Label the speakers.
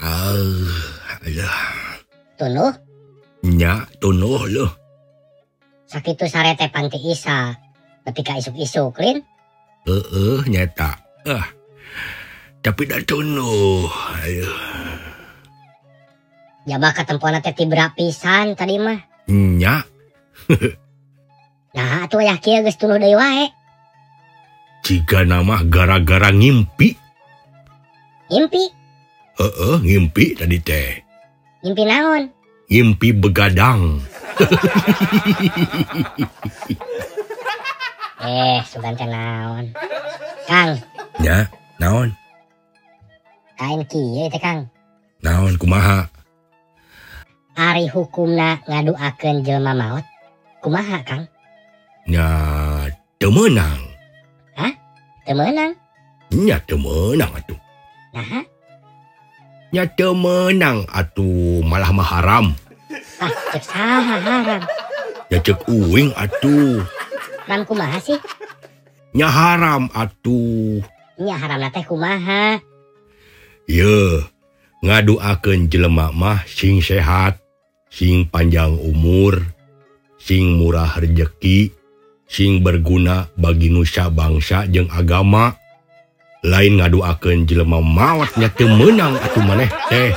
Speaker 1: Eh, alah.
Speaker 2: Tuh
Speaker 1: Nya, tunuh loh.
Speaker 2: sakitu sarete panti Isa ketika isuk-isuk lin
Speaker 1: Heeh, nyata. Ah. Tapi dah tunuh. Aduh.
Speaker 2: jabah ketempuan teh tibra pisan tadi mah
Speaker 1: Nya,
Speaker 2: nah atuh ayah kieu geus tunuh deui wae
Speaker 1: jika nama gara-gara ngimpi.
Speaker 2: ngimpi
Speaker 1: Heeh, ngimpi tadi teh.
Speaker 2: ngimpi naon
Speaker 1: Ngimpi begadang.
Speaker 2: eh sugan teh naon Kang
Speaker 1: Nya, naon?
Speaker 2: lain kieu teh Kang
Speaker 1: Naon kumaha?
Speaker 2: ari hukumna ngaduakeun jelema maot kumaha Kang
Speaker 1: Nya, temenang.
Speaker 2: teu meunang
Speaker 1: Nya temenang atuh.
Speaker 2: nah
Speaker 1: Nya temenang atuh malah maharam.
Speaker 2: ah cek saha haram
Speaker 1: Ya cek uing atuh.
Speaker 2: Ram kumaha sih
Speaker 1: Nya haram atuh.
Speaker 2: nya haramna teh kumaha
Speaker 1: Ye, ngaduakeun jelema mah sing sehat, sing panjang umur, sing murah rejeki, sing berguna bagi nusa bangsa jeung agama. Lain ngaduakeun jelema mawatnya teu meunang atuh maneh teh.